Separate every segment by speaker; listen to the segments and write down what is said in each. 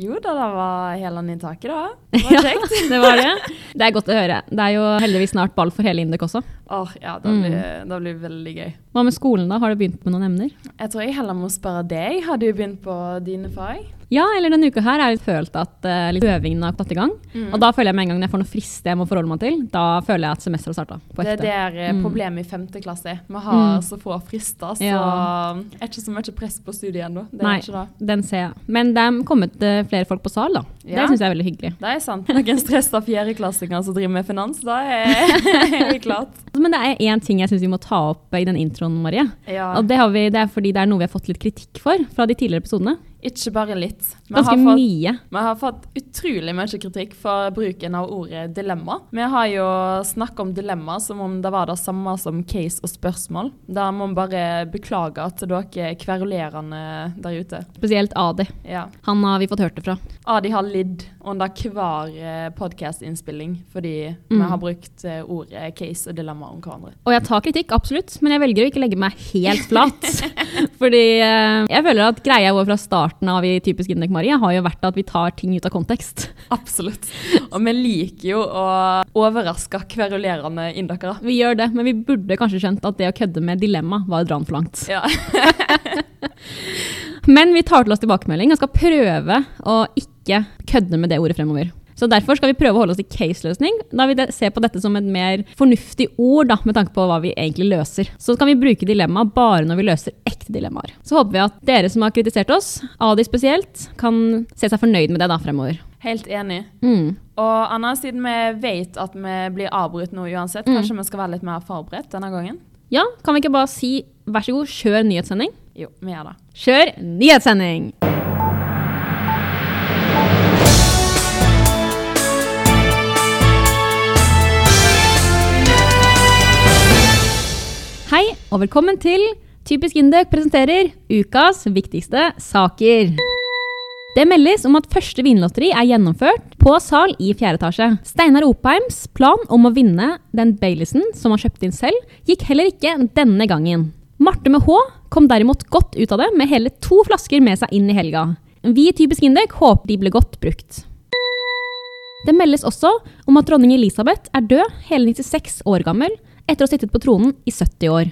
Speaker 1: Jo da, det var Helen i taket, da. Det var kjekt.
Speaker 2: det var det. Det er godt å høre. Det er jo heldigvis snart ball for hele Indek også.
Speaker 1: Åh, ja, det blir,
Speaker 2: Mm.
Speaker 1: det blir veldig gøy.
Speaker 2: Hva med skolen, da? Har du begynt med noen emner?
Speaker 1: Jeg tror jeg heller må spørre deg. Har du begynt på dine fag?
Speaker 2: Ja, eller denne uka her har jeg følt at eh, litt øvingen har tatt i gang.
Speaker 1: Mm.
Speaker 2: Og da føler jeg med en gang når jeg får noe frist jeg må forholde meg til, da føler jeg at semesteret har starta. På
Speaker 1: Det
Speaker 2: ekte. Mm.
Speaker 1: er der eh, problemet i femte klasse. er. Vi har så få frister, så
Speaker 2: Ja.
Speaker 1: det er ikke så mye press på studiet ennå. Det er
Speaker 2: Nei,
Speaker 1: ikke det.
Speaker 2: den ser jeg. Men det er kommet eh, flere folk på sal, da.
Speaker 1: Ja.
Speaker 2: Det syns jeg er veldig hyggelig.
Speaker 1: Det er sant. Noen stressa fjerdeklassinger som driver med finans, da er det klart.
Speaker 2: Altså, Men det er én ting jeg syns vi må ta opp eh, i den introen, Marie.
Speaker 1: Ja.
Speaker 2: Og det, har vi, det er fordi det er noe vi har fått litt kritikk for fra de tidligere episodene.
Speaker 1: Ikke bare litt. Vi har
Speaker 2: Ganske
Speaker 1: fått-
Speaker 2: mye.
Speaker 1: Vi har fått utrolig mye kritikk for bruken av ordet dilemma. Vi har jo snakket om dilemma som om det var det samme som case og spørsmål. Da må vi bare beklage til dere kverulerende der ute.
Speaker 2: Spesielt Adi.
Speaker 1: Ja.
Speaker 2: Han har vi fått hørt det fra.
Speaker 1: Ah, de har lidd under hver podkast-innspilling fordi
Speaker 2: Mm.
Speaker 1: vi har brukt eh, ordet case og dilemma om hverandre.
Speaker 2: Og jeg tar kritikk, absolutt, men jeg velger å ikke legge meg helt flat. Fordi eh, jeg føler at greia vår fra starten av i Typisk Indek Marie har jo vært at vi tar ting ut av kontekst.
Speaker 1: Absolutt. Og vi liker jo å overraske kverulerende indokere.
Speaker 2: Vi gjør det, men vi burde kanskje skjønt at det å kødde med dilemma var å dra den for langt.
Speaker 1: Ja.
Speaker 2: Men vi tar til oss tilbakemelding og skal prøve å ikke kødde med det ordet fremover. Så Derfor skal vi prøve å holde oss til case-løsning, da vi de- ser på dette som et mer fornuftig ord da, med tanke på hva vi egentlig løser. Så kan vi bruke dilemma bare når vi løser ekte dilemmaer. Så håper vi at dere som har kritisert oss, Adi spesielt, kan se seg fornøyd med det da fremover.
Speaker 1: Helt enig.
Speaker 2: Mm.
Speaker 1: Og Anna, siden vi vet at vi blir avbrutt nå uansett, kanskje vi skal være litt mer forberedt denne gangen?
Speaker 2: Ja, kan vi ikke bare si vær så god, kjør nyhetssending?
Speaker 1: Jo, vi gjør det.
Speaker 2: Kjør nyhetssending! Hei, og velkommen til Typisk Indøk presenterer ukas viktigste saker. Det meldes om at første vinlotteri er gjennomført på sal i fjerde etasje. Steinar Opheims plan om å vinne den Baileysen som han kjøpte inn selv, gikk heller ikke denne gangen. Marte med H kom derimot godt ut av det med hele to flasker med seg inn i helga. Vi i Typisk Indek håper de ble godt brukt. Det meldes også om at dronning Elisabeth er død hele 96 år gammel etter å ha sittet på tronen i 70 år.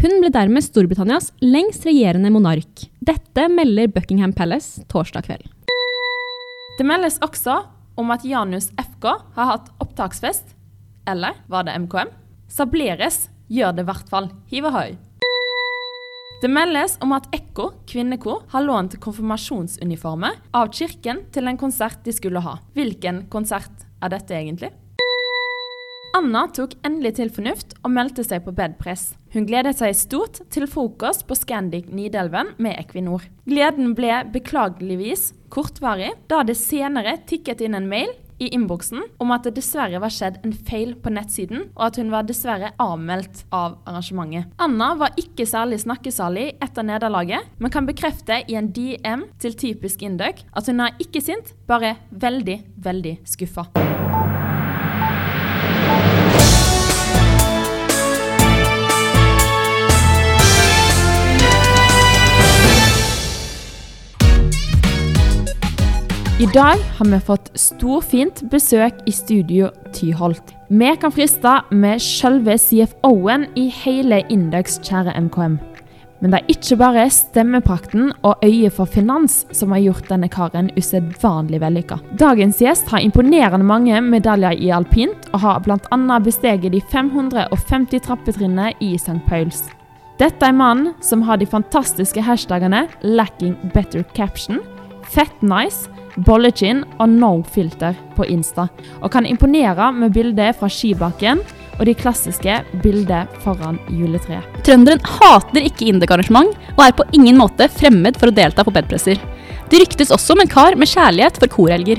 Speaker 2: Hun ble dermed Storbritannias lengst regjerende monark. Dette melder Buckingham Palace torsdag kveld.
Speaker 1: Det meldes også om at Janus FK har hatt opptaksfest. Eller var det MKM? Sableres gjør det i hvert fall. Hiv ohoi. Det meldes om at Ekko kvinnekor har lånt konfirmasjonsuniformer av kirken til en konsert de skulle ha. Hvilken konsert er dette egentlig? Anna tok endelig til fornuft og meldte seg på bedpress. Hun gledet seg stort til frokost på Scandic Nidelven med Equinor. Gleden ble beklageligvis kortvarig, da det senere tikket inn en mail i innboksen om at det dessverre var skjedd en feil på nettsiden, og at hun var dessverre avmeldt av arrangementet. Anna var ikke særlig snakkesalig etter nederlaget, men kan bekrefte i en DM til Typisk Indøk at hun er ikke sint, bare veldig, veldig skuffa. I dag har vi fått storfint besøk i studio Tyholt. Vi kan friste med sjølve CFO-en i hele Indøks kjære MKM. Men det er ikke bare stemmeprakten og øyet for finans som har gjort denne karen usedvanlig vellykka. Dagens gjest har imponerende mange medaljer i alpint, og har bl.a. besteget de 550 trappetrinnene i St. Pauls. Dette er mannen som har de fantastiske hashtagene 'lacking better caption', 'fat nice', 'bollekin' og 'no filter' på Insta, og kan imponere med bilder fra skibakken og de klassiske bildet foran juletreet.
Speaker 3: Trønderen hater ikke indekarrangement og er på ingen måte fremmed for å delta på bedpresser. Det ryktes også om en kar med kjærlighet for korhelger.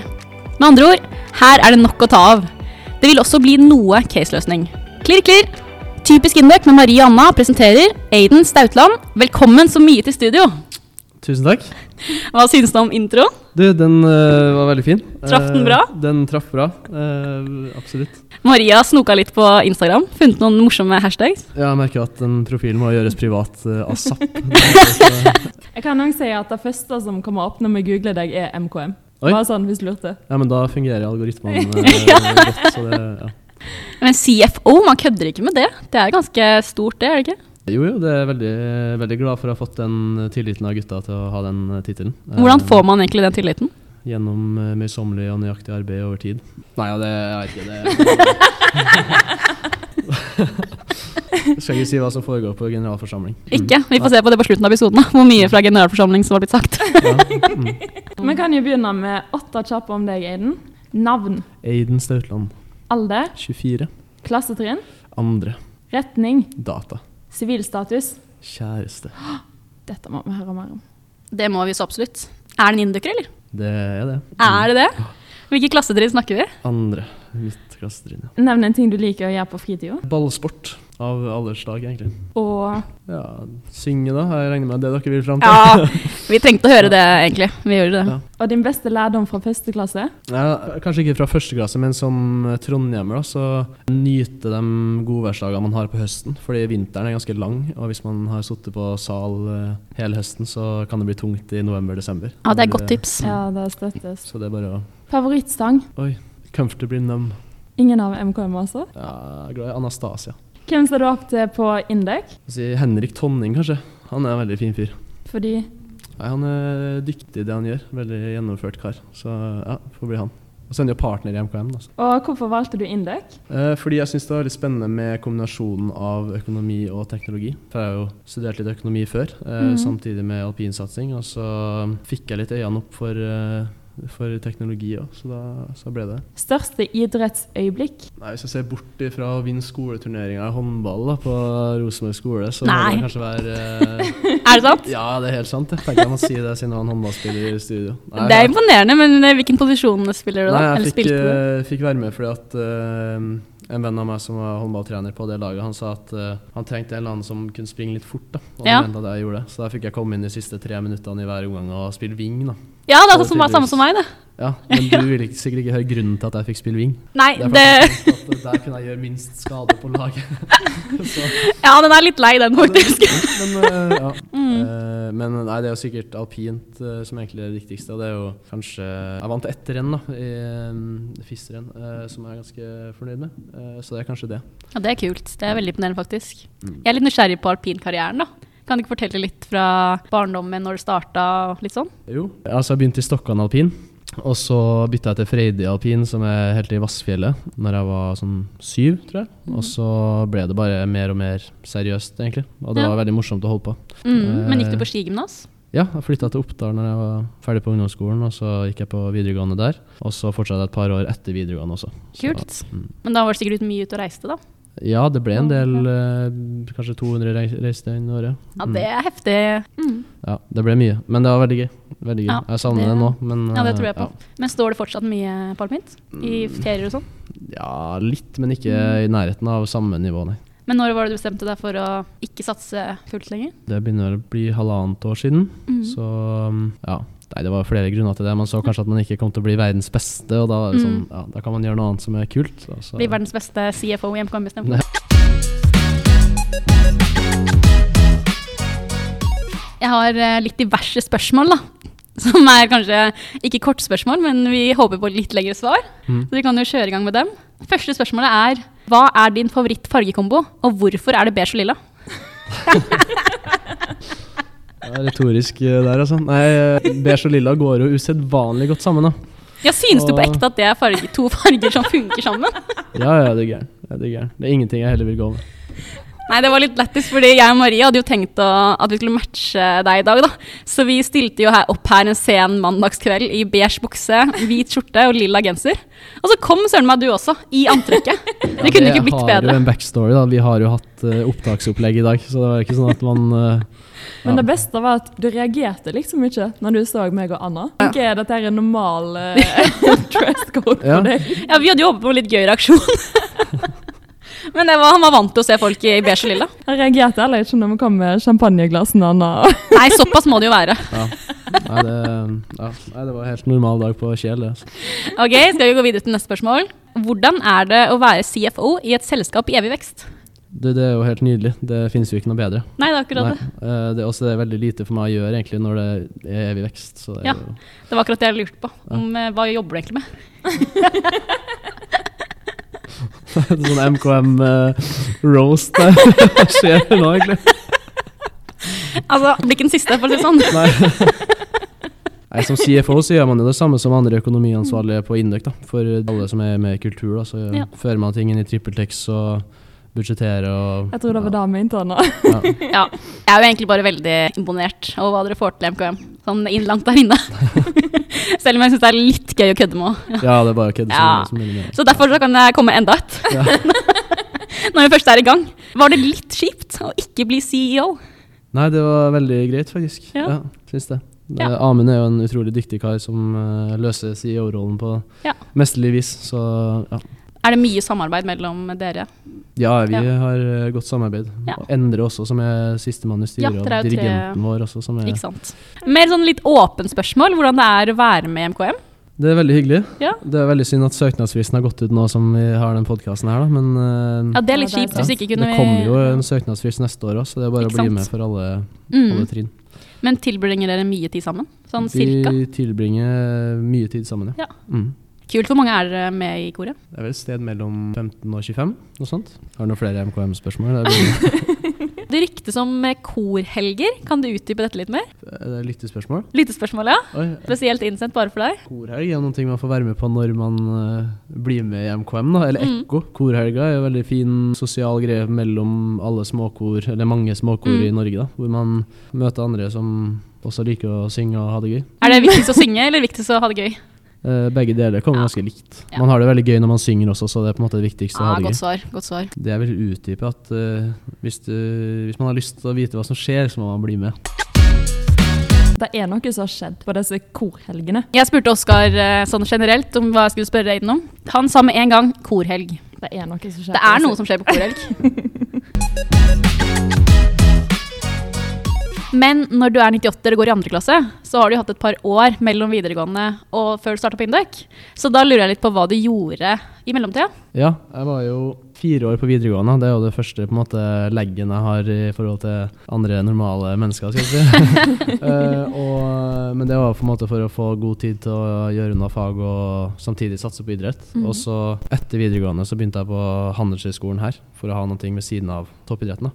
Speaker 3: Med andre ord, her er det nok å ta av. Det vil også bli noe caseløsning. Klirr, klirr! Typisk Indøk med Marie Anna presenterer Aiden Stautland. Velkommen så mye til studio.
Speaker 4: Tusen takk.
Speaker 3: Hva synes du om introen?
Speaker 4: Du, den eh, var veldig fin.
Speaker 3: Traff
Speaker 4: Eh,
Speaker 3: den bra?
Speaker 4: den traff bra. eh, absolutt.
Speaker 3: Maria snoka litt på Instagram, funnet noen morsomme hashtags.
Speaker 4: Jeg merker at den profilen må gjøres privat uh, asap. Så-
Speaker 1: Jeg kan også si at det første som kommer opp når vi googler deg, er MKM.
Speaker 4: Oi.
Speaker 1: Bare sånn hvis du lurte.
Speaker 4: ja, men da fungerer algoritmene eh, godt. Så det, ja.
Speaker 3: Men CFO, man kødder ikke med det. Det er ganske stort, det, er det ikke?
Speaker 4: Jo, jo, det er veldig, veldig glad for å ha fått den tilliten av gutta til å ha den eh, tittelen. Eh,
Speaker 3: Hvordan får man egentlig den tilliten?
Speaker 4: Gjennom eh, møysommelig og nøyaktig arbeid over tid. Nei, ja, det jeg vet ikke det. Skal ikke si hva som foregår på generalforsamling.
Speaker 3: Ikke. Vi får se på det på slutten av episoden, da. hvor mye fra generalforsamling som har blitt sagt.
Speaker 4: Ja. Mm.
Speaker 1: Vi kan jo begynne med åtte kjappe om deg, Aiden. Navn,
Speaker 4: Aiden Stautland,
Speaker 1: alder,
Speaker 4: 24.
Speaker 1: klassetrinn,
Speaker 4: Andre
Speaker 1: retning,
Speaker 4: data.
Speaker 1: sivilstatus.
Speaker 4: Kjæreste.
Speaker 1: Dette må vi høre mer om.
Speaker 3: Det må vi så absolutt. Er det en inndøkker, eller?
Speaker 4: Det er det.
Speaker 3: Er det det? Hvilke klassetrinn snakker vi?
Speaker 4: Andre. Mitt klassetrinn. ja.
Speaker 1: Nevn en ting du liker å gjøre på fritida.
Speaker 4: Ballsport av alle slag, egentlig.
Speaker 1: Og
Speaker 4: Ja, synge, da. Jeg regner med det dere vil fram til.
Speaker 3: Ja, vi trengte å høre det, egentlig. Vi gjorde det.
Speaker 4: Ja.
Speaker 1: Og din beste lærdom fra første klasse?
Speaker 4: Ja, kanskje ikke fra første klasse, men som trondhjemmer, da, så nyte de godværsdagene man har på høsten. Fordi vinteren er ganske lang, og hvis man har sittet på sal eh, hele høsten, så kan det bli tungt i november-desember.
Speaker 3: Ja, det er godt tips.
Speaker 1: Ja, det støttes.
Speaker 4: eh, Så det er bare å
Speaker 1: Favorittstang?
Speaker 4: Comfortably numb.
Speaker 1: Ingen av MKM, altså.
Speaker 4: Ja, jeg er glad i Anastasia.
Speaker 1: Hvem ser du opp til på Indek?
Speaker 4: Jeg sier Henrik Tonning, kanskje. Han er en veldig fin fyr.
Speaker 1: Fordi
Speaker 4: Nei, Han er dyktig i det han gjør. Veldig gjennomført kar. Så ja, får bli han. Og så er han jo partner i MKM. Altså.
Speaker 1: Og hvorfor valgte du Indek?
Speaker 4: Eh, fordi jeg syns det var litt spennende med kombinasjonen av økonomi og teknologi. For jeg har jo studert litt økonomi før, eh, samtidig med alpinsatsing. Og så fikk jeg litt øynene opp for, eh, for teknologi òg, så da så ble det.
Speaker 1: Største idrettsøyeblikk?
Speaker 4: Nei, Hvis jeg ser bort ifra å vinne skoleturneringa i håndball da, på Rosenborg skole, så
Speaker 3: Nei.
Speaker 4: må det kanskje være eh,
Speaker 3: Er det sant?
Speaker 4: Ja, det er helt sant. Jeg tenker jeg må si det siden han håndballspiller i studio. Nei,
Speaker 3: Det er imponerende, men eh, hvilken posisjon spiller du da?
Speaker 4: Nei, jeg
Speaker 3: Eller
Speaker 4: fikk,
Speaker 3: spilte du?
Speaker 4: eh, fikk være med fordi at eh, en venn av meg som var håndballtrener på det laget, han sa at eh, han trengte en eller annen som kunne springe litt fort. da, og
Speaker 3: Ja.
Speaker 4: han mente at jeg gjorde det. Så da fikk jeg komme inn de siste tre minuttene i hver omgang og spille wing. da.
Speaker 3: Ja, det er
Speaker 4: det
Speaker 3: sånn som var samme som meg, det.
Speaker 4: Ja, Men du vil ikke, sikkert ikke høre grunnen til at jeg fikk spille wing.
Speaker 3: Nei,
Speaker 4: Det er fordi
Speaker 3: det,
Speaker 4: jeg tenkte at Der kunne jeg gjøre minst skade på laget. Så,
Speaker 3: ja, den er litt lei, den, faktisk. Mm.
Speaker 4: men, eh, ja. Eh, men nei, det er jo sikkert alpint eh, som egentlig er det viktigste. Og det er jo kanskje Jeg vant ett renn, da, i eh, FIS-renn, eh, som jeg er ganske fornøyd med. Eh, så det er kanskje det.
Speaker 3: Ja, det er kult. Det er veldig imponerende, faktisk.
Speaker 4: Mm.
Speaker 3: Jeg er litt nysgjerrig på alpinkarrieren, da. Kan du ikke fortelle litt fra barndommen, når det starta, og litt sånn?
Speaker 4: Jo, altså jeg begynte i Stokkan alpin, og så bytta jeg til Freidig alpin, som er helt i Vassfjellet, når jeg var sånn syv, tror jeg.
Speaker 3: Mm.
Speaker 4: Og så ble det bare mer og mer seriøst, egentlig. Og det
Speaker 3: Ja.
Speaker 4: var veldig morsomt å holde på.
Speaker 3: Mm, men gikk du
Speaker 4: Eh,
Speaker 3: på skigymnas?
Speaker 4: Ja, jeg flytta til Oppdal når jeg var ferdig på ungdomsskolen, og så gikk jeg på videregående der. Og så fortsatte jeg et par år etter videregående også. Så-
Speaker 3: Kult.
Speaker 4: mm.
Speaker 3: Men da var det sikkert ut mye ute og reiste, da.
Speaker 4: Ja, det ble en del, eh, kanskje 200 reis- reisedøgn i året.
Speaker 3: Ja,
Speaker 4: Mm.
Speaker 3: det er heftig. Mm.
Speaker 4: Ja, det ble mye, men det var veldig gøy. Veldig gøy.
Speaker 3: Ja,
Speaker 4: jeg savner
Speaker 3: det-
Speaker 4: det, nå, men
Speaker 3: Ja, det
Speaker 4: eh,
Speaker 3: tror jeg på. Men står det fortsatt mye på alpint? I
Speaker 4: Mm.
Speaker 3: ferier og sånn?
Speaker 4: Ja, litt, men ikke
Speaker 3: Mm.
Speaker 4: i nærheten av samme nivå, nei.
Speaker 3: Men når var det du bestemte deg for å ikke satse fullt lenger?
Speaker 4: Det begynner å bli halvannet år siden,
Speaker 3: Mm.
Speaker 4: så um, ja. Nei, det var flere grunner til det. Man så kanskje at man ikke kom til å bli verdens beste, og da, var det sånn, ja, da kan man gjøre noe annet som er kult. altså. og så-
Speaker 3: Mm. Bli verdens beste CFO i MKM bestemt.
Speaker 4: Nei.
Speaker 3: Jeg har eh, litt diverse spørsmål, da. Som er kanskje ikke kortspørsmål, men vi håper på litt lengre svar.
Speaker 4: Mm.
Speaker 3: Så vi kan jo kjøre i gang med dem. Første spørsmålet er hva er din favoritt-fargekombo, og hvorfor er det beige og lilla?
Speaker 4: Det er retorisk eh, der, altså. Nei, eh, beige og lilla går jo usedvanlig godt sammen, da.
Speaker 3: Ja, Syns du på
Speaker 4: Åh.
Speaker 3: ekte at det er farge, to farger som funker sammen?
Speaker 4: Ja, ja, det er gæren. Ja, det er gæren. Det er ingenting jeg heller vil gå med.
Speaker 3: Nei, det var litt lættis, fordi jeg og Marie hadde jo tenkt å, at vi skulle matche deg i dag, da. Så vi stilte jo her, opp her en sen mandagskveld i beige bukse, hvit skjorte og lilla genser. Og så kom søren meg du også, i antrekket. Det kunne ikke blitt
Speaker 4: har jo
Speaker 3: bedre.
Speaker 4: en backstory, da. Vi har jo hatt eh, opptaksopplegg i dag, så det var ikke sånn at man eh,
Speaker 1: Men
Speaker 4: Ja.
Speaker 1: det beste var at du reagerte liksom ikke når du så meg og Anna. Jeg Tenker jeg dette er en normal eh, dress code
Speaker 4: Ja.
Speaker 1: for deg.
Speaker 3: Ja, vi hadde jo håpet på en litt gøy reaksjon. Men det var, han var vant til å se folk i beige og lilla.
Speaker 1: Jeg reagerte heller ikke når vi kom med champagneglassene og
Speaker 3: Nei, såpass må det jo være.
Speaker 4: Ja. Nei, det, ja. Nei, det var en helt normal dag på Kjel. det, altså.
Speaker 3: Ok, Skal vi gå videre til neste spørsmål? Hvordan er det å være CFO i et selskap i evig vekst?
Speaker 4: Det, det er jo helt nydelig. Det finnes jo ikke noe bedre.
Speaker 3: Nei, det er akkurat det.
Speaker 4: Nei, eh, det er også det er veldig lite for meg å gjøre egentlig når det er evig vekst. Så det er
Speaker 3: Ja.
Speaker 4: jo,
Speaker 3: Det var akkurat det jeg lurte på. Om, eh, hva jobber du egentlig med?
Speaker 4: det er sånn MKM eh, roast der. Hva skjer nå, egentlig?
Speaker 3: Altså, Blir ikke den siste, for å si det sånn.
Speaker 4: Nei. Nei, Som CFO så gjør man jo det samme som andre økonomiansvarlige på Induc. da. For alle som er med i kultur, da, så
Speaker 3: Ja.
Speaker 4: fører man ting inn i TrippelTex og budsjetterer og
Speaker 1: Jeg tror det var det vi interna.
Speaker 4: Ja. Ja.
Speaker 3: Ja. Jeg er jo egentlig bare veldig imponert over hva dere får til i MKM. Sånn innlangt der inne. Selv om jeg syns det er litt gøy å kødde med òg.
Speaker 4: ja, det er bare å kødde.
Speaker 3: Ja.
Speaker 4: som- som er med.
Speaker 3: Så derfor så kan jeg komme med enda et. Når vi først er i gang. Var det litt kjipt å ikke bli E CEO?
Speaker 4: Nei, det var veldig greit, faktisk.
Speaker 3: Ja.
Speaker 4: Ja, syns det. Det-
Speaker 3: Ja.
Speaker 4: Amund er jo en utrolig dyktig kar som eh, løser CEO-rollen på
Speaker 3: Ja.
Speaker 4: mesterlig vis. Så ja,
Speaker 3: Er det mye samarbeid mellom dere?
Speaker 4: ja vi
Speaker 3: Ja.
Speaker 4: har eh, godt samarbeid.
Speaker 3: Ja.
Speaker 4: Og Endre også, som er sistemann i
Speaker 3: Ja,
Speaker 4: styret,
Speaker 3: dere er
Speaker 4: og
Speaker 3: jo tre-
Speaker 4: dirigenten vår også, som er
Speaker 3: Ikke sant? Mer sånn litt åpent spørsmål. Hvordan det er å være med i MKM?
Speaker 4: Det er veldig hyggelig.
Speaker 3: Ja.
Speaker 4: Det er veldig synd at søknadsfristen har gått ut nå som vi har den podkasten her, da, men eh,
Speaker 3: Ja, Det er litt
Speaker 1: Ja, det er
Speaker 3: kjipt hvis
Speaker 4: ja,
Speaker 3: ikke kunne
Speaker 4: Det kommer jo en søknadsfrist neste år òg, så det er bare
Speaker 3: Ikke
Speaker 4: å bli
Speaker 3: sant?
Speaker 4: med for alle, alle
Speaker 3: mm.
Speaker 4: trinn.
Speaker 3: Men tilbringer dere mye tid sammen? Sånn cirka?
Speaker 4: Vi tilbringer mye tid sammen,
Speaker 3: Ja.
Speaker 4: ja. Mm.
Speaker 3: Kult. Hvor mange er dere med i koret?
Speaker 4: Det er vel et sted mellom 15 og 25, noe sånt. Har du noen flere MKM-spørsmål? Det er
Speaker 3: Det ryktes om eh, korhelger. Kan du utdype dette litt mer?
Speaker 4: er Eh, det lyttespørsmål.
Speaker 3: Lyttespørsmål, ja.
Speaker 4: Oi,
Speaker 3: Spesielt innsendt bare for deg.
Speaker 4: korhelg er noe man får være med på når man eh, blir med i MKM, da, eller
Speaker 3: Mm.
Speaker 4: Ekko. Korhelga er en veldig fin sosial greie mellom alle småkor, eller mange småkor
Speaker 3: Mm.
Speaker 4: i Norge, da, hvor man møter andre som også liker å synge og ha det gøy.
Speaker 3: Er det viktigst å synge, eller viktigst å ha det gøy?
Speaker 4: Eh, begge deler kommer
Speaker 3: Ja.
Speaker 4: ganske likt.
Speaker 3: Ja.
Speaker 4: Man har det veldig gøy når man synger også, så det er på en måte det viktigste å ha
Speaker 3: Ah,
Speaker 4: det gøy.
Speaker 3: godt svar. godt svar.
Speaker 4: Det jeg vil utdype, at eh, hvis, du, hvis man har lyst til å vite hva som skjer, så må man bli med.
Speaker 1: Det er noe som har skjedd på disse korhelgene.
Speaker 3: Jeg spurte Oskar eh, sånn generelt om hva jeg skulle spørre deg om. Han sa med en gang korhelg.
Speaker 1: Det er noe som skjer.
Speaker 3: Det er noe som skjer på korhelg. Men når du er 98 og går i andre klasse, så har du jo hatt et par år mellom videregående og før du starta på Induc. Så da lurer jeg litt på hva du gjorde i mellomtida.
Speaker 4: Ja, jeg var jo fire år på videregående. Det er jo det første på en måte leggen jeg har i forhold til andre normale mennesker, skal jeg si. Eh, og, men det var på en måte for å få god tid til å gjøre unna fag og samtidig satse på idrett. Og så etter videregående så begynte jeg på Handelshøyskolen her for å ha noe ved siden av toppidretten. da.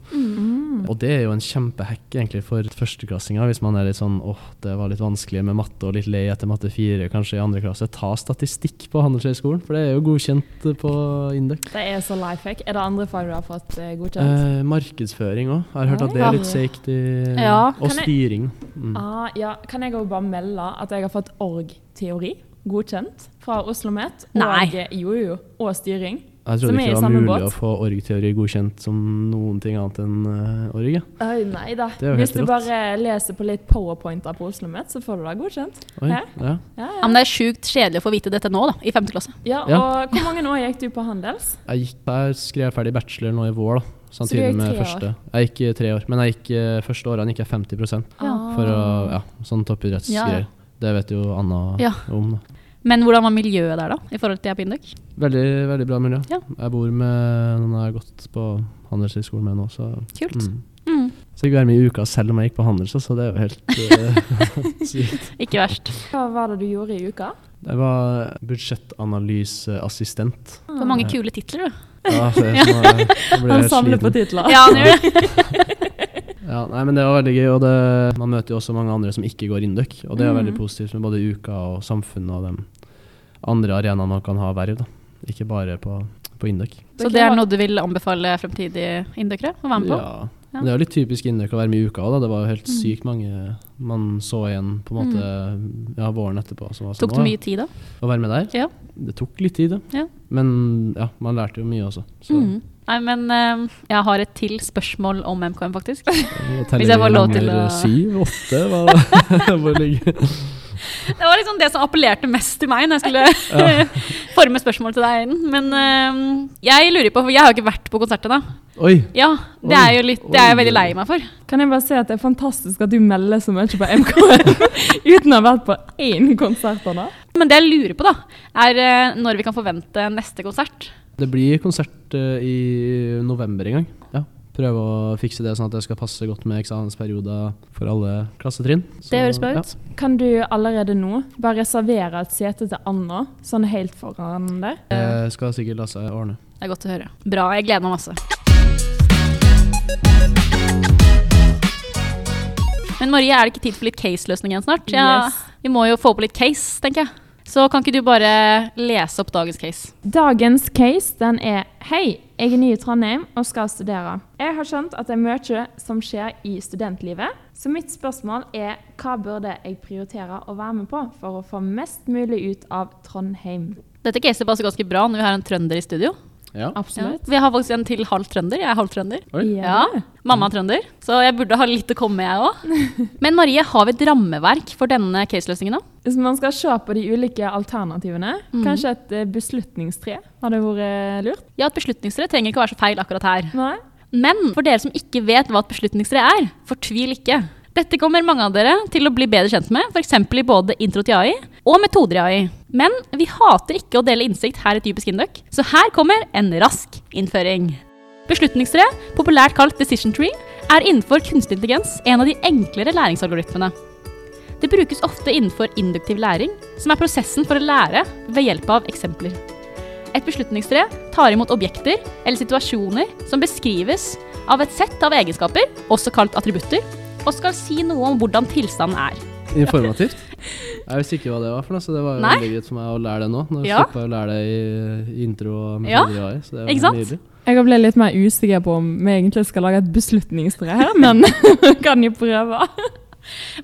Speaker 4: Og det er jo en kjempehekk egentlig for førsteklassinger hvis man er litt sånn åh, det var litt vanskelig med matte og litt lei etter matte fire, kanskje i andre klasse. Ta statistikk på Handelshøyskolen, for det er jo godkjent eh, på Induc.
Speaker 1: Det er så life hack. Er det andre fag du har fått eh, godkjent?
Speaker 4: Eh, markedsføring òg. Har hørt at det
Speaker 1: Ja.
Speaker 4: er litt seigt. i-
Speaker 3: Ja,
Speaker 4: og
Speaker 1: kan jeg-
Speaker 4: styring. Mm.
Speaker 1: ah, ja. Kan jeg òg bare melde at jeg har fått org-teori godkjent fra Oslo Met?
Speaker 3: Nei.
Speaker 1: Og, jo, jo. Og styring.
Speaker 4: Jeg
Speaker 1: Som
Speaker 4: trodde
Speaker 1: er i
Speaker 4: ikke det var
Speaker 1: samme båt.
Speaker 4: mulig å få org-teori godkjent som noen ting annet enn eh, org. ja.
Speaker 1: Oi, nei da.
Speaker 4: er jo
Speaker 1: Hvis
Speaker 4: helt
Speaker 1: du
Speaker 4: rått.
Speaker 1: bare leser på litt powerpointer på Oslo Met, så får du det godkjent.
Speaker 4: Oi,
Speaker 1: Hæ?
Speaker 4: ja.
Speaker 1: Ja,
Speaker 3: Ja,
Speaker 1: ja.
Speaker 3: men det er sjukt kjedelig å få vite dette nå, da, i femte klasse.
Speaker 1: ja,
Speaker 4: Ja.
Speaker 1: og hvor mange år gikk du på Handels?
Speaker 4: Jeg gikk der, skrev ferdig bachelor nå i vår, da.
Speaker 1: du gikk
Speaker 4: Samtidig med
Speaker 1: tre år?
Speaker 4: første. Jeg gikk eh, tre år, men jeg gikk eh, første årene gikk jeg 50
Speaker 1: Ja.
Speaker 4: for å
Speaker 1: Ah.
Speaker 4: Ja, sånn toppidrettsgreier. Det
Speaker 3: Ja.
Speaker 4: vet jo Anna
Speaker 3: Ja.
Speaker 4: om. da.
Speaker 3: Men hvordan var miljøet der, da? i forhold til jeg på Induc?
Speaker 4: Veldig, veldig bra miljø.
Speaker 3: Ja.
Speaker 4: Jeg bor med noen jeg har gått på handelshøyskolen med nå, så
Speaker 3: Kult.
Speaker 4: mm.
Speaker 3: Mm.
Speaker 4: Så jeg fikk være med i uka selv om jeg gikk på handel, så så det er jo helt eh, sykt.
Speaker 3: Ikke verst.
Speaker 1: Hva var det du gjorde i uka?
Speaker 4: Jeg var budsjettanalyseassistent.
Speaker 3: For mange
Speaker 4: Mm.
Speaker 3: kule titler, du.
Speaker 4: Ja, så jeg, så, jeg ble
Speaker 1: Han
Speaker 4: helt
Speaker 1: samler på
Speaker 4: sliten.
Speaker 1: titler.
Speaker 3: Ja, han gjør det.
Speaker 4: Ja, nei, men det var veldig gøy, og det, man møter jo også mange andre som ikke går Induc, og det er
Speaker 3: Mm.
Speaker 4: veldig positivt med både uka og samfunnet og de andre arenaene man kan ha verv, da. Ikke bare på, på Induc.
Speaker 3: Så det er noe du vil anbefale fremtidige indøkere å være med på? Mm.
Speaker 4: Ja. Men det er jo litt typisk Induc å være med i uka òg, da. Det var jo helt sykt mange man så igjen på en måte ja, våren etterpå. Som var sånn,
Speaker 3: Mm. Tok det
Speaker 4: «Å,
Speaker 3: mye tid da?
Speaker 4: Å være med der?
Speaker 3: Ja.
Speaker 4: Det tok litt tid,
Speaker 3: Ja.
Speaker 4: Men ja, man lærte jo mye også. Så
Speaker 3: Mm. Nei, men eh, jeg har et til spørsmål om MKM, faktisk.
Speaker 4: jeg
Speaker 3: Hvis jeg får lov til å-
Speaker 4: Syv, åtte, hva hvor ligger
Speaker 3: Det var liksom det som appellerte mest til meg når jeg skulle forme spørsmål til deg, Aiden. Men øhm, jeg lurer på, for jeg har jo ikke vært på konsert ennå.
Speaker 4: Oi!
Speaker 3: Ja, det
Speaker 4: Oi,
Speaker 3: er jo litt, det er jeg
Speaker 4: oi.
Speaker 3: veldig lei meg for.
Speaker 1: Kan jeg bare si at det er fantastisk at du melder så mye på MKM uten å ha vært på én konsert av det?
Speaker 3: Men det jeg lurer på, da, er øh, når vi kan forvente neste konsert.
Speaker 4: Det blir konsert eh, i november en gang. Ja. Prøve å fikse det sånn at det skal passe godt med eksamensperioder for alle klassetrinn. Så,
Speaker 3: Det høres bra
Speaker 4: ja.
Speaker 3: ut.
Speaker 1: Kan du allerede nå bare reservere et sete til Anna, sånn helt foran der?
Speaker 4: Det skal sikkert la seg ordne.
Speaker 3: Det er godt å høre. Bra, jeg gleder meg masse. Men Marie, er det ikke tid for litt case-løsning igjen snart?
Speaker 1: Yes.
Speaker 3: Vi må jo få på litt case, tenker jeg. Så kan ikke du bare lese opp dagens case?
Speaker 1: Dagens case den er Hei, jeg er ny i Trondheim og skal studere. Jeg har skjønt at det er mye som skjer i studentlivet, så mitt spørsmål er hva burde jeg prioritere å være med på for å få mest mulig ut av Trondheim?
Speaker 3: Dette caset passer ganske bra når vi har en trønder i studio.
Speaker 4: Ja.
Speaker 1: Absolutt.
Speaker 3: Vi har faktisk en til halv trønder. Jeg er halv trønder.
Speaker 4: Oi.
Speaker 3: Ja. Mamma er trønder, så jeg burde ha litt å komme med, jeg òg. Men Marie, har vi et rammeverk for denne caseløsningen nå?
Speaker 1: Hvis man skal se på de ulike alternativene, kanskje et eh, beslutningstre hadde vært eh, lurt?
Speaker 3: Ja, et beslutningstre trenger ikke å være så feil akkurat her.
Speaker 1: Nei?
Speaker 3: Men for dere som ikke vet hva et beslutningstre er, fortvil ikke. Dette kommer mange av dere til å bli bedre kjent med, f.eks. i både intro til AI og metoder i AI. Men vi hater ikke å dele innsikt her i Typisk Induc, så her kommer en rask innføring. Beslutningstre, populært kalt decision tree, er innenfor kunstig intelligens en av de enklere læringsalgoritmene. Det brukes ofte innenfor induktiv læring, som er prosessen for å lære ved hjelp av eksempler. Et beslutningstre tar imot objekter eller situasjoner som beskrives av et sett av egenskaper, også kalt attributter, og skal si noe om hvordan tilstanden er.
Speaker 4: Informativt. Jeg visste ikke hva det var for noe, så det var jo
Speaker 3: Nei.
Speaker 4: veldig greit for meg å lære det nå. Når jeg
Speaker 3: Ja.
Speaker 4: slapp å lære det i- i intro og med
Speaker 3: Ja.
Speaker 4: videre AI, så det var
Speaker 3: Ikke sant?
Speaker 4: nydelig.
Speaker 1: Jeg ble litt mer usikker på om vi egentlig skal lage et beslutningstre her, men kan jo prøve.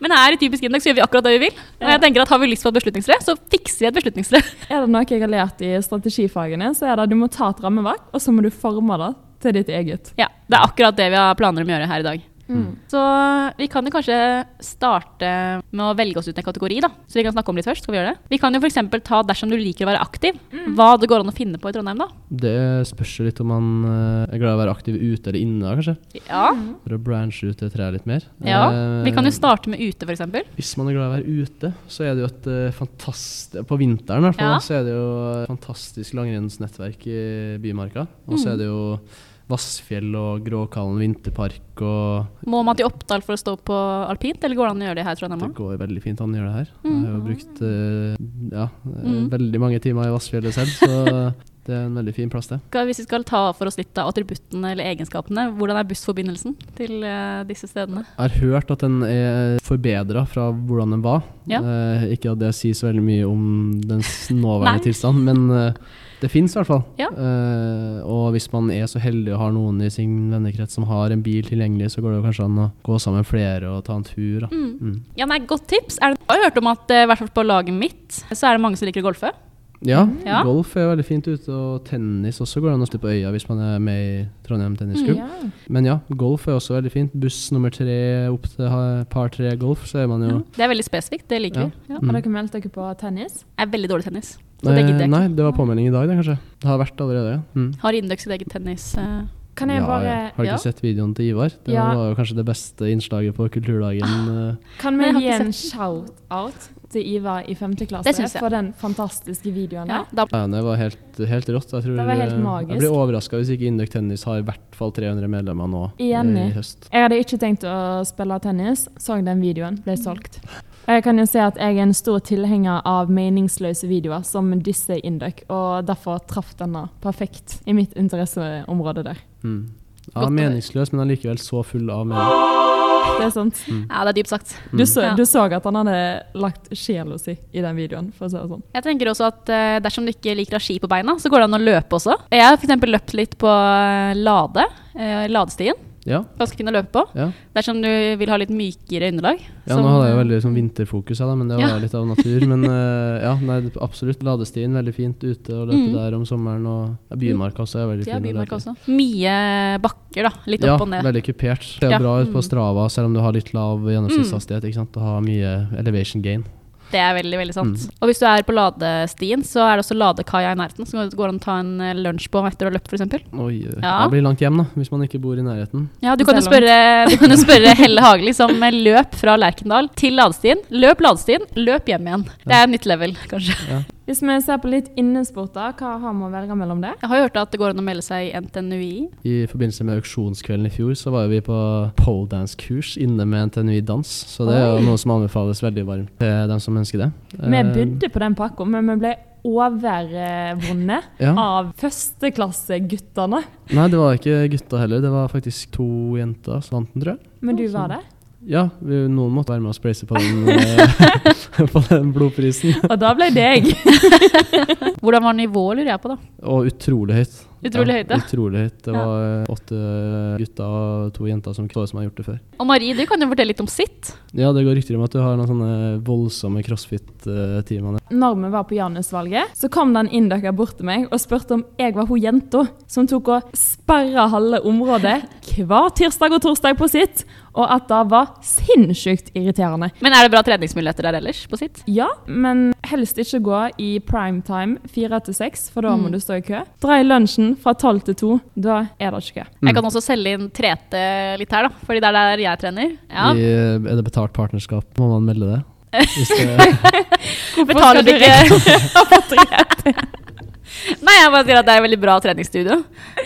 Speaker 3: Men her i Typisk Index gjør vi akkurat det vi vil. Og jeg tenker at Har vi lyst på et beslutningstre, så fikser vi et beslutningstre.
Speaker 1: Er det noe jeg har lært i strategifagene, så er det at du må ta et rammeverk, og så må du forme det til ditt eget.
Speaker 3: Ja, Det er akkurat det vi har planer om å gjøre her i dag. Så vi kan jo kanskje starte med å velge oss ut en kategori, da. Så vi kan snakke om litt først. Skal vi gjøre det? Vi kan jo f.eks. ta dersom du liker å være aktiv, hva det går an å finne på i Trondheim, da.
Speaker 4: Det spørs jo litt om man eh, er glad i å være aktiv ute eller inne, kanskje.
Speaker 3: Ja,
Speaker 4: For å branche ut det treet litt mer.
Speaker 3: ja. Vi kan
Speaker 4: Eh,
Speaker 3: jo starte med ute, f.eks.
Speaker 4: Hvis man er glad i å være ute, så er det jo et eh, fantastisk På vinteren i hvert fall,
Speaker 3: Ja.
Speaker 4: så er det jo et fantastisk langrennsnettverk i Bymarka. Og
Speaker 3: Mm.
Speaker 4: så er det jo Vassfjell og Gråkallen vinterpark, og
Speaker 3: Må man til Oppdal for å stå på alpint, eller går det an å gjøre det her? Tror jeg,
Speaker 4: det
Speaker 3: Namma?
Speaker 4: går veldig fint an å gjøre det her. Jeg har jo brukt eh, ja, eh,
Speaker 3: Mm.
Speaker 4: veldig mange timer i Vassfjellet selv, så det er en veldig fin plass, det.
Speaker 3: Skal- Hvis vi skal ta for oss litt av attributtene eller egenskapene, hvordan er bussforbindelsen til eh, disse stedene?
Speaker 4: Jeg har hørt at den er forbedra fra hvordan den var.
Speaker 3: Ja.
Speaker 4: Eh, ikke at det sier så veldig mye om dens nåværende
Speaker 3: Nei.
Speaker 4: tilstand, men eh, det fins i hvert fall.
Speaker 3: Ja.
Speaker 4: Eh, og hvis man er så heldig og har noen i sin vennekrets som har en bil tilgjengelig, så går det jo kanskje an å gå sammen flere og ta en tur. Da.
Speaker 3: Mm.
Speaker 4: Mm.
Speaker 3: Ja, nei, Godt tips. Er det, jeg har hørt om at eh, i hvert fall på laget mitt så er det mange som liker å golfe.
Speaker 4: Ja,
Speaker 3: Ja.
Speaker 4: golf er veldig fint ute, og tennis også går det an å stå på øya hvis man er med i Trondheim Tennisklubb.
Speaker 1: Mm, Ja.
Speaker 4: Men ja, golf er også veldig fint. Buss nummer tre opp til ha- par tre golf, så er man jo
Speaker 3: Det er veldig spesifikt. Det liker
Speaker 4: Ja.
Speaker 3: vi. Ja.
Speaker 1: Har dere meldt dere på tennis?
Speaker 3: Jeg er veldig dårlig i tennis, så det gidder
Speaker 4: Eh,
Speaker 3: jeg ikke.
Speaker 4: Nei, det var påmelding i dag, det, kanskje. Det har vært allerede. ja. Mm.
Speaker 3: Har Indøk sitt eget tennis? eh,
Speaker 1: Kan jeg
Speaker 4: ja,
Speaker 1: bare
Speaker 4: ja. Har du
Speaker 3: ja.
Speaker 4: ikke sett videoen til Ivar? Det
Speaker 1: Ja. Ah.
Speaker 4: var jo kanskje det beste innslaget på Kulturdagen. eh.
Speaker 1: Kan
Speaker 3: Nei, jeg
Speaker 1: vi
Speaker 3: har
Speaker 1: gi
Speaker 3: ikke
Speaker 1: en shout-out til Ivar i 5. klasse
Speaker 3: Det synes jeg.
Speaker 1: for den fantastiske videoen
Speaker 3: ja,
Speaker 1: der?
Speaker 3: da,
Speaker 4: Ja, det var helt, helt rått. Jeg, tror,
Speaker 1: Det var helt
Speaker 4: eh,
Speaker 1: magisk.
Speaker 4: jeg blir overraska hvis ikke Induk Tennis har i hvert fall 300 medlemmer nå eh,
Speaker 1: Enig.
Speaker 4: i høst.
Speaker 1: Jeg hadde ikke tenkt å spille tennis, så den videoen ble solgt. Og jeg kan jo si at jeg er en stor tilhenger av meningsløse videoer som disse Induc, og derfor traff denne perfekt i mitt interesseområde der.
Speaker 4: Mm.
Speaker 3: Godt
Speaker 4: Ja,
Speaker 3: å høre.
Speaker 4: meningsløs, men allikevel så full av mening.
Speaker 1: Det er sant.
Speaker 4: Mm.
Speaker 3: ja, det er dypt sagt.
Speaker 1: Du så,
Speaker 3: Ja.
Speaker 1: du så at han hadde lagt sjela si i den videoen, for å si det sånn.
Speaker 3: Jeg tenker også at eh, dersom du ikke liker å ha ski på beina, så går det an å løpe også. Jeg har f.eks. løpt litt på eh, Lade, eh, Ladestien.
Speaker 4: Ja,
Speaker 3: Ganske fin å løpe på.
Speaker 4: ja.
Speaker 3: Dersom du vil ha litt mykere underlag.
Speaker 4: ja
Speaker 3: som- eh,
Speaker 4: nå hadde jeg jo veldig sånn vinterfokus, jeg da, men det var
Speaker 3: Ja.
Speaker 4: litt av natur. Men eh, ja, nei, det- absolutt. Ladestien, veldig fint ute og løpe
Speaker 3: Mm.
Speaker 4: der om sommeren. Og ja, Bymarka også er veldig
Speaker 3: ja,
Speaker 4: fin. å løpe i.
Speaker 3: bymark også. Mye bakker, da. Litt opp og ned.
Speaker 4: Ja, veldig kupert. Det ser
Speaker 3: Ja. Mm.
Speaker 4: bra ut på Strava, selv om du har litt lav gjennomsnittshastighet. ikke sant? Du har mye elevation gain.
Speaker 3: Det er veldig veldig sant.
Speaker 4: Mm.
Speaker 3: Og hvis du er på ladestien, så er det også ladekaia i nærheten som det går an å ta en eh, lunsj på etter å ha løpt, f.eks.
Speaker 4: Oi, eh,
Speaker 3: Ja.
Speaker 4: det blir langt hjem da, hvis man ikke bor i nærheten.
Speaker 3: Ja, du kan jo
Speaker 1: Det er
Speaker 3: spørre, du kan jo spørre Helle Hagli som eh, løp fra Lerkendal til ladestien. Løp ladestien, løp hjem igjen. Det er et nytt level, kanskje.
Speaker 1: Hvis vi ser på litt innesporter, hva har vi å velge mellom det?
Speaker 3: Jeg har jo hørt at det går an å melde seg i NTNUI.
Speaker 4: I forbindelse med auksjonskvelden i fjor så var jo vi på poledance-kurs inne med NTNU i dans, så det er jo noe som anbefales veldig varmt til dem som ønsker det.
Speaker 1: Vi
Speaker 4: Eh,
Speaker 1: bodde på den pakka, men vi ble overvunnet
Speaker 4: Ja.
Speaker 1: av førsteklasseguttene.
Speaker 4: Nei, det var ikke gutta heller, det var faktisk to jenter som vant den, tror jeg.
Speaker 1: Men du var det.
Speaker 4: Ja, vi, noen måtte være med og spleise på den, eh, på den blodprisen.
Speaker 1: Og da ble det jeg.
Speaker 3: Hvordan var nivået, lurer jeg på, da.
Speaker 4: Og utrolig høyt.
Speaker 3: Utrolig høyt,
Speaker 4: ja.
Speaker 3: ja.
Speaker 4: Utrolig høyt. Det var eh, åtte gutter og to jenter som ikke som har gjort det før.
Speaker 3: Og Marie, du kan jo fortelle litt om sitt.
Speaker 4: Ja, det går rykter om at du har noen sånne voldsomme crossfit-timer.
Speaker 1: Når vi var på Janusvalget, så kom den inndekker bort til meg og spurte om jeg var hun jenta som tok og sperra halve området hver tirsdag og torsdag på sitt, og at det var sinnssykt irriterende.
Speaker 3: Men er det bra treningsmuligheter der ellers, på sitt?
Speaker 1: Ja, men helst ikke gå i primetime fire til seks, for da
Speaker 3: Mm.
Speaker 1: må du stå i kø. Dra i lunsjen fra tolv til to. Da er det ikke kø.
Speaker 4: Mm.
Speaker 3: Jeg kan også selge inn Trete litt her, da, fordi det er der jeg trener. Ja.
Speaker 4: I, eh, er det betalt partnerskap? Må man melde det? Hvis det
Speaker 1: skal
Speaker 3: Betaler
Speaker 1: du
Speaker 3: du ikke Nei, jeg bare sier at det er et veldig bra treningsstudio.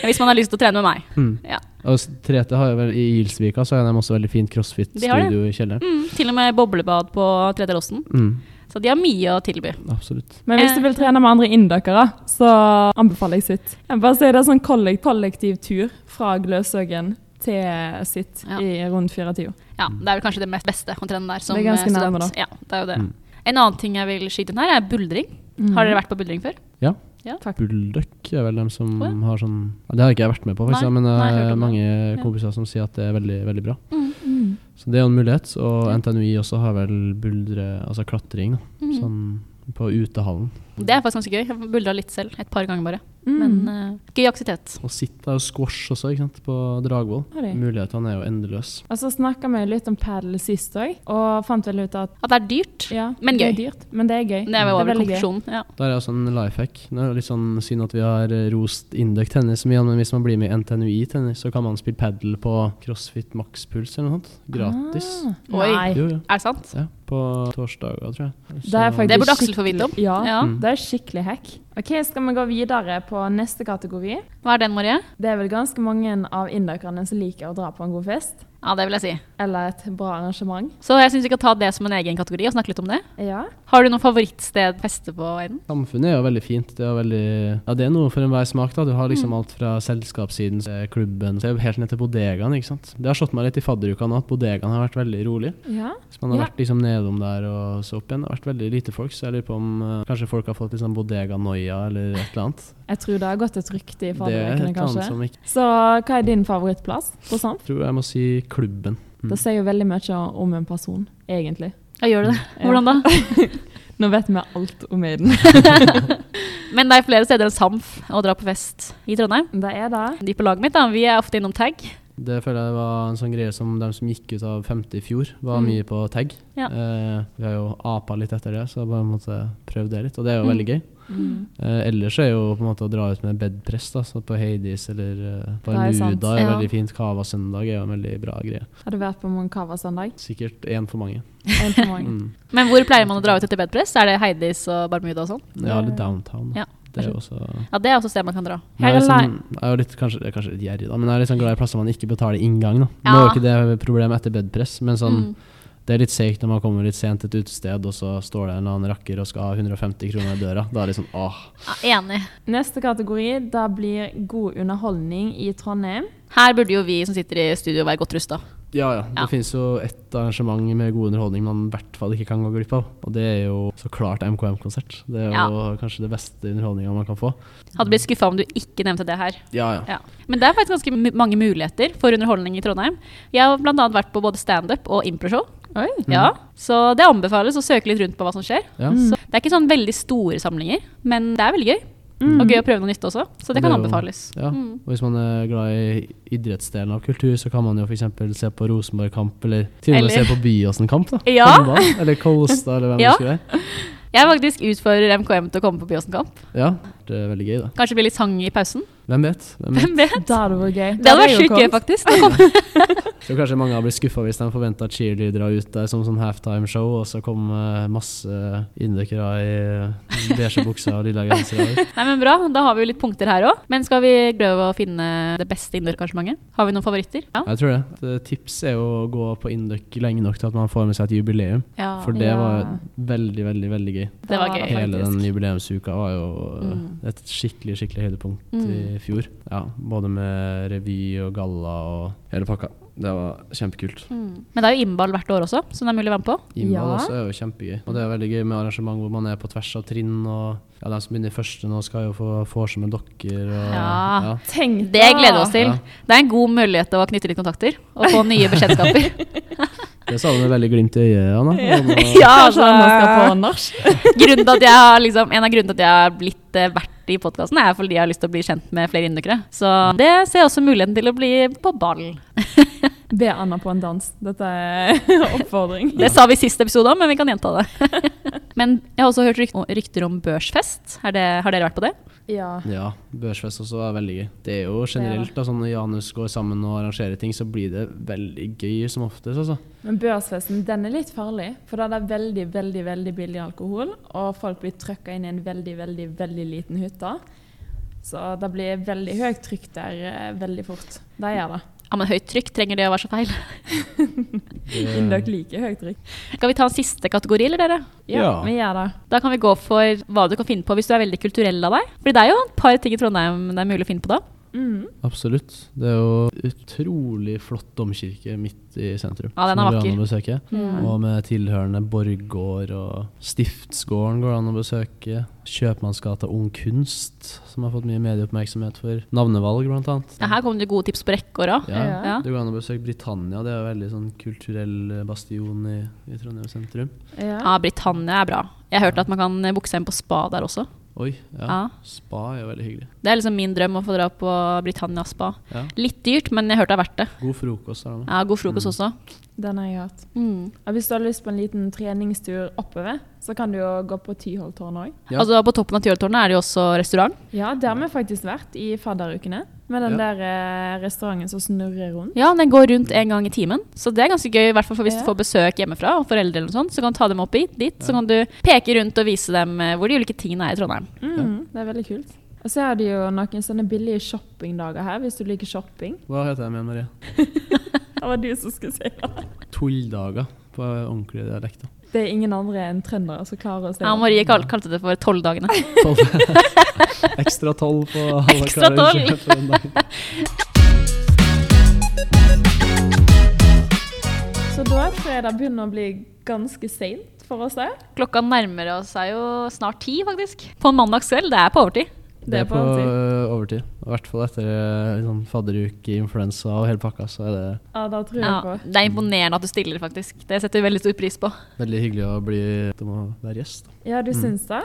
Speaker 3: Hvis man har lyst til å trene med meg.
Speaker 4: mm.
Speaker 3: Ja.
Speaker 4: Og s- 3T har jo vel i Ilsvika så har de også veldig fint
Speaker 3: De har det.
Speaker 4: crossfit-studio i kjelleren.
Speaker 3: Mm, til og med boblebad på Tredje Rossen.
Speaker 4: Mm.
Speaker 3: Så de har mye å tilby.
Speaker 4: Absolutt.
Speaker 1: Men
Speaker 3: Eh.
Speaker 1: hvis du vil trene med andre inndøkkere, så anbefaler jeg sitt. Jeg bare sier Det er sånn kollek kollektiv tur fra Gløshaugen til sitt
Speaker 3: Ja.
Speaker 1: i rundt fire tider.
Speaker 3: Ja, Det er vel kanskje det mest beste å trene der som
Speaker 1: Det er ganske
Speaker 3: eh, student.
Speaker 1: nærme, da.
Speaker 3: Ja, det er jo det.
Speaker 4: Mm.
Speaker 3: En annen ting jeg vil skyte inn her, er buldring. Har dere vært på buldring før?
Speaker 4: Bulldøkk er vel dem som
Speaker 3: Å, ja.
Speaker 4: har sånn ja, Det har ikke jeg vært med på, faktisk,
Speaker 3: Nei,
Speaker 4: ja, men
Speaker 3: nei, jeg har
Speaker 4: det
Speaker 3: hørt
Speaker 4: er
Speaker 3: om
Speaker 4: mange
Speaker 3: Ja.
Speaker 4: kompiser som sier at det er veldig, veldig bra.
Speaker 1: Mm.
Speaker 4: Så det er jo en mulighet. Og NTNUI også har vel buldre, altså klatring, da,
Speaker 3: Mm.
Speaker 4: sånn på utehallen.
Speaker 3: Det er faktisk ganske gøy. Jeg buldra litt selv, et par ganger bare.
Speaker 1: Mm.
Speaker 3: Men
Speaker 1: Men
Speaker 3: eh, gøy aktivitet.
Speaker 4: Og sitt er jo squash også, ikke sant, på Dragvoll.
Speaker 1: Har de?
Speaker 4: Mulighetene er jo endeløse.
Speaker 1: Og så snakka vi litt om padel sist òg, og fant vel ut at
Speaker 3: At det er dyrt.
Speaker 1: ja,
Speaker 3: Men
Speaker 1: det er
Speaker 3: gøy.
Speaker 1: dyrt, men det er gøy.
Speaker 3: Det var vel
Speaker 1: veldig gøy.
Speaker 3: konklusjonen. Ja.
Speaker 4: Der er også en life hack. Det er jo litt sånn synd at vi har eh, rost Induct tennis mye, men hvis man blir med i NTNUI tennis, så kan man spille padel på CrossFit makspuls eller noe sånt. Gratis.
Speaker 1: Ah,
Speaker 3: Oi.
Speaker 1: Nei.
Speaker 4: Jo, jo.
Speaker 3: Er det sant?
Speaker 4: Ja, på torsdager, tror jeg.
Speaker 1: Det er faktisk
Speaker 3: Det burde Aksel få vite om.
Speaker 1: Ja,
Speaker 3: Ja.
Speaker 4: Mm.
Speaker 1: det er skikkelig hack. OK, skal vi gå videre på neste kategori?
Speaker 3: Hva er den, Marie?
Speaker 1: Det er vel ganske mange av inndøkkerne som liker å dra på en god fest.
Speaker 3: Ja, det vil jeg si.
Speaker 1: Eller et bra arrangement.
Speaker 3: Så jeg syns vi kan ta det som en egen kategori og snakke litt om det.
Speaker 1: Ja.
Speaker 3: Har du noe favorittsted å feste på, Aiden?
Speaker 4: Samfunnet er jo veldig fint. Det er, jo veldig, ja, det er noe for enhver smak. da. Du har
Speaker 1: Mm.
Speaker 4: liksom alt fra selskapssiden til klubben, til helt ned til bodegaen. ikke sant? Det har slått meg litt i fadderuka nå at bodegaen har vært veldig rolig.
Speaker 1: ja.
Speaker 4: Hvis man har
Speaker 1: Ja.
Speaker 4: vært liksom nedom der og så opp igjen, det har vært veldig lite folk. Så jeg lurer på om eh, kanskje folk har fått liksom bodega-noia eller et eller annet.
Speaker 1: Jeg tror det har gått et rykte i
Speaker 4: Det er et
Speaker 1: fadderukene,
Speaker 4: eller annet
Speaker 1: kanskje.
Speaker 4: som ikke
Speaker 1: Så hva er din favorittplass? på sånt?
Speaker 4: tror jeg må si klubben.
Speaker 1: Det sier jo veldig mye om en person, egentlig.
Speaker 3: Ja, gjør du det?
Speaker 1: Ja.
Speaker 3: Hvordan da?
Speaker 1: Nå vet vi alt om Aiden.
Speaker 3: Men det er flere steder enn Samf å dra på fest i Trondheim.
Speaker 1: Det er det.
Speaker 3: De på laget mitt, da, vi er ofte innom tag.
Speaker 4: Det føler jeg var en sånn greie som de som gikk ut av femte i fjor, var
Speaker 3: Mm.
Speaker 4: mye på tag.
Speaker 3: Ja.
Speaker 4: Eh, vi har jo apa litt etter det, så jeg bare måtte prøve det litt, og det er jo veldig gøy.
Speaker 1: Mm.
Speaker 4: Eh, ellers er jo på en måte å dra ut med bedpress, da, så på Hades eller eh,
Speaker 1: er sant.
Speaker 4: Bermuda er,
Speaker 3: Ja.
Speaker 4: veldig fint. Cava søndag er jo en veldig bra greie.
Speaker 1: Har du vært på Moncava søndag?
Speaker 4: Sikkert én for mange.
Speaker 1: En for mange.
Speaker 4: Mm.
Speaker 3: Men hvor pleier man å dra ut etter bedpress? Er det Heidis og Barmuda og sånn?
Speaker 4: Ja, eller downtown. da.
Speaker 3: Ja.
Speaker 4: Det er jo også
Speaker 3: Ja, det er også sted man kan dra.
Speaker 4: Men jeg er,
Speaker 1: Her er
Speaker 4: liksom, jeg er jo litt, kanskje, jeg er kanskje litt gjerrig, da, men jeg er litt sånn glad i plasser man ikke betaler inngang. Da. Nå er jo
Speaker 3: Ja.
Speaker 4: ikke det problemet etter bedpress, men sånn,
Speaker 3: Mm.
Speaker 4: det er litt seigt når man kommer litt sent til et utested, og så står det en eller annen rakker og skal ha 150 kroner i døra. Da er det sånn åh.
Speaker 3: Ja, enig.
Speaker 1: Neste kategori da blir god underholdning i Trondheim.
Speaker 3: Her burde jo vi som sitter i studio være godt rusta.
Speaker 4: Ja, ja.
Speaker 3: Ja.
Speaker 4: Det finnes jo et arrangement med god underholdning man i hvert fall ikke kan gå glipp av. Og det er jo så klart MKM-konsert. Det er jo
Speaker 3: Ja.
Speaker 4: kanskje det beste underholdninga man kan få.
Speaker 3: Hadde blitt skuffa om du ikke nevnte det her.
Speaker 4: Ja, ja.
Speaker 3: Ja. Men det er faktisk ganske mu- mange muligheter for underholdning i Trondheim. Jeg har bl.a. vært på både standup og improshow.
Speaker 1: Oi.
Speaker 3: Ja, så det anbefales å søke litt rundt på hva som skjer.
Speaker 4: Ja.
Speaker 3: Så det er ikke sånn veldig store samlinger, men det er veldig gøy.
Speaker 1: Mm.
Speaker 3: Og gøy å prøve noe nytt også, så det kan
Speaker 4: Det er jo-
Speaker 3: anbefales.
Speaker 4: Ja.
Speaker 3: Mm.
Speaker 4: Og hvis man er glad i idrettsdelen av kultur, så kan man jo f.eks. se på Rosenborg-kamp, eller til og med
Speaker 3: Eller-
Speaker 4: se på Byåsen-kamp. da.
Speaker 3: Ja.
Speaker 4: Håndball, eller Kolstad, eller hvem
Speaker 3: Ja.
Speaker 4: det skulle være.
Speaker 3: Jeg faktisk utfordrer MKM til å komme på Byåsen-kamp.
Speaker 4: Ja, det er veldig gøy, da.
Speaker 3: Kanskje det blir litt sang i pausen.
Speaker 4: Hvem vet? Hvem vet?
Speaker 3: Hvem vet?
Speaker 1: Da hadde det vært gøy.
Speaker 3: Det hadde vært
Speaker 1: jo
Speaker 3: sjukt gøy,
Speaker 1: kommet.
Speaker 3: faktisk. Da kom-
Speaker 4: Så kanskje mange har blitt skuffa hvis de forventa cheerleadere ut der som sånn halftime-show, og så kom eh, masse inndykkere i eh, beige bukser og lilla gensere. ut.
Speaker 3: Nei, men bra. Da har vi jo litt punkter her òg. Men skal vi prøve å finne det beste innendørsarrangementet? Har vi noen favoritter? Ja.
Speaker 4: Jeg tror det. Et tips er jo å gå på inndyk lenge nok til at man får med seg et jubileum.
Speaker 3: ja
Speaker 4: For det var veldig, veldig veldig gøy.
Speaker 3: det var gøy.
Speaker 4: Hele
Speaker 3: faktisk.
Speaker 4: den jubileumsuka var jo eh,
Speaker 3: Mm.
Speaker 4: et skikkelig skikkelig høydepunkt
Speaker 3: Mm.
Speaker 4: i fjor. Ja, Både med revy og galla og hele pakka. Det var kjempekult.
Speaker 3: Mm. Men det er jo innball hvert år også, som det er mulig å være med på.
Speaker 4: Innball
Speaker 1: Ja.
Speaker 4: også er jo kjempegøy. Og det er veldig gøy med arrangement hvor man er på tvers av trinn. Og ja, de som begynner i første nå, skal jo få vors med dokker. Og,
Speaker 3: Ja.
Speaker 1: Tenk
Speaker 3: Det gleder vi oss til.
Speaker 4: Ja.
Speaker 3: Det er en god mulighet til å knytte litt kontakter og få nye bekjentskaper.
Speaker 4: Det sa du med veldig glimt i øyet, Anna. Og nå-
Speaker 3: ja,
Speaker 1: Kanskje
Speaker 3: altså,
Speaker 1: man skal på nach.
Speaker 3: grunnen til at jeg har liksom, en av grunnene til at jeg har blitt eh, vært i podkasten, er fordi jeg har lyst til å bli kjent med flere innbyggere. Så det ser jeg også muligheten til å bli på ball.
Speaker 1: Be Anna på en dans. Dette er oppfordring.
Speaker 3: Det sa vi i siste episode òg, men vi kan gjenta det. men jeg har også hørt rykt- rykter om børsfest. Er det, har dere vært på det?
Speaker 1: Ja.
Speaker 4: Ja, børsfest også er veldig gøy. Det er jo generelt da, sånn når Janus går sammen og arrangerer ting, så blir det veldig gøy som oftest, altså.
Speaker 1: Men børsfesten den er litt farlig, for da er det veldig veldig, veldig billig alkohol, og folk blir trøkka inn i en veldig veldig, veldig liten hytte. Så det blir veldig høyt trykk der eh, veldig fort. Det gjør det.
Speaker 3: Ja, men høyt trykk trenger det å være så feil.
Speaker 4: Det-
Speaker 1: Indøk liker høyt trykk.
Speaker 3: Skal vi ta en siste kategori, eller dere?
Speaker 1: Ja,
Speaker 4: Ja.
Speaker 1: vi gjør det.
Speaker 3: Da kan vi gå for hva du kan finne på hvis du er veldig kulturell av deg. Fordi det er jo et par ting i Trondheim det er mulig å finne på da.
Speaker 1: Mm.
Speaker 4: Absolutt. Det er jo utrolig flott domkirke midt i sentrum.
Speaker 3: Ja, den er
Speaker 4: som det går an
Speaker 3: vakker.
Speaker 4: å besøke. Og med tilhørende borggård og Stiftsgården går det an å besøke. Kjøpmannsgata Ung Kunst, som har fått mye medieoppmerksomhet for navnevalg, blant annet.
Speaker 3: Ja, her kom det gode tips på rekke år òg.
Speaker 4: Ja.
Speaker 3: Ja.
Speaker 4: Det går an å besøke Britannia, det er jo veldig sånn kulturell bastion i, i Trondheim sentrum.
Speaker 3: Ja, Britannia er bra. Jeg hørte at man kan eh, bukse hjem på spa der også.
Speaker 4: Oi, ja.
Speaker 3: Ja.
Speaker 4: Spa er jo veldig hyggelig.
Speaker 3: Det er liksom min drøm å få dra på Britannia spa.
Speaker 4: Ja.
Speaker 3: Litt dyrt, men jeg hørte det er verdt det.
Speaker 4: God frokost har de.
Speaker 3: Ja, god frokost også.
Speaker 1: Den har jeg hatt.
Speaker 3: Mm.
Speaker 1: Og hvis du har lyst på en liten treningstur oppover, så kan du jo gå på Tyholttårnet òg.
Speaker 4: Ja.
Speaker 3: Altså På toppen av Tyholttårnet er det jo også restaurant.
Speaker 1: Ja, der har vi faktisk vært i fadderukene. Med den
Speaker 4: Ja.
Speaker 1: der eh, restauranten som snurrer rundt.
Speaker 3: Ja, Den går rundt en gang i timen, så det er ganske gøy. I hvert fall for hvis
Speaker 1: Ja.
Speaker 3: du får besøk hjemmefra og foreldre eller noe sånt, så kan du ta dem opp hit, dit. Så kan du peke rundt og vise dem eh, hvor de ulike tingene er i Trondheim.
Speaker 1: Mm, det er veldig kult. Og så er det jo noen sånne billige shoppingdager her, hvis du liker shopping.
Speaker 4: Hva heter de igjen, Marie?
Speaker 1: Det var du som skulle si det.
Speaker 4: Tulldager på ordentlig dialekt. da.
Speaker 1: Det er ingen andre enn trøndere som klarer å si
Speaker 3: Ja, Marie kal kalte det for Tolvdagene.
Speaker 4: Tolv. Ekstra tolv på alle
Speaker 3: Ekstra
Speaker 4: karer
Speaker 3: tolv.
Speaker 4: for en dag.
Speaker 1: Så da tror jeg det begynner å bli ganske seint for oss der.
Speaker 3: Klokka nærmer oss seg jo snart ti, faktisk. På en mandagskveld. Det er på overtid.
Speaker 4: Det er på
Speaker 1: overtid.
Speaker 4: øh, overtid. I hvert fall etter øh, litt sånn fadderuke, influensa og hele pakka, så er det
Speaker 1: Ja, det tror jeg
Speaker 3: Ja,
Speaker 1: på.
Speaker 3: det er imponerende at du stiller, faktisk. Det setter vi veldig stor pris på.
Speaker 4: veldig hyggelig å bli Du må være gjest. da.
Speaker 1: Ja, du syns det?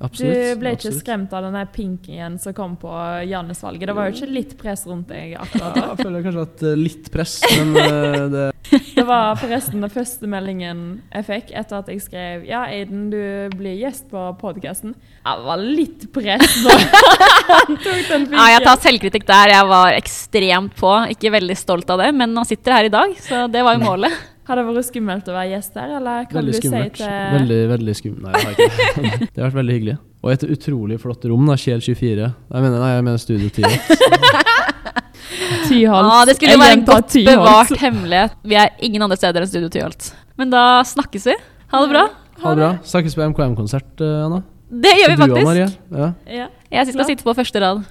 Speaker 1: Du
Speaker 4: Absolutt.
Speaker 1: ble ikke
Speaker 4: absolutt.
Speaker 1: skremt av den der pinkingen som kom på Janus-valget? Det var jo ikke litt press rundt deg
Speaker 4: Ja,
Speaker 1: akkurat da.
Speaker 4: jeg føler kanskje at øh, litt press, men øh, det
Speaker 1: Det var forresten den første meldingen jeg fikk etter at jeg skrev Ja, Aiden, du blir gjest på podkasten. Jeg var litt press da han tok den
Speaker 3: Ja, jeg tar
Speaker 1: pikken.
Speaker 3: selvkritikk der. Jeg var ekstremt på. Ikke veldig stolt av det, men han sitter her i dag, så det var jo målet.
Speaker 1: Har det vært skummelt å være gjest der, eller kan
Speaker 4: Veldig
Speaker 1: du
Speaker 4: skummelt.
Speaker 1: si til
Speaker 4: Veldig, veldig skummelt. Nei, jeg har ikke det. Det har vært veldig hyggelig. Og et utrolig flott rom, da. Kjel 24. Jeg mener, nei, jeg mener studiotid.
Speaker 1: Tyholt?
Speaker 3: Ja, det skulle
Speaker 1: Jeg
Speaker 3: jo være en
Speaker 1: gjentar
Speaker 3: godt
Speaker 1: Tyholt.
Speaker 3: bevart hemmelighet. Vi er ingen andre steder enn Studio Tyholt. Men da snakkes vi. Ha det bra.
Speaker 4: Ha det bra. Snakkes på MKM-konsert, øh, Anna.
Speaker 3: Det gjør vi
Speaker 4: Du og Marie.
Speaker 3: faktisk.
Speaker 4: Ja.
Speaker 1: Ja.
Speaker 3: Jeg skal sitte på første rad.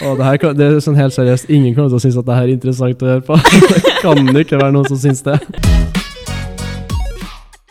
Speaker 4: Å, det, her, kan- det er sånn helt seriøst, Ingen kommer til å synes at det her er interessant å høre på. Det kan jo ikke være noen som synes det.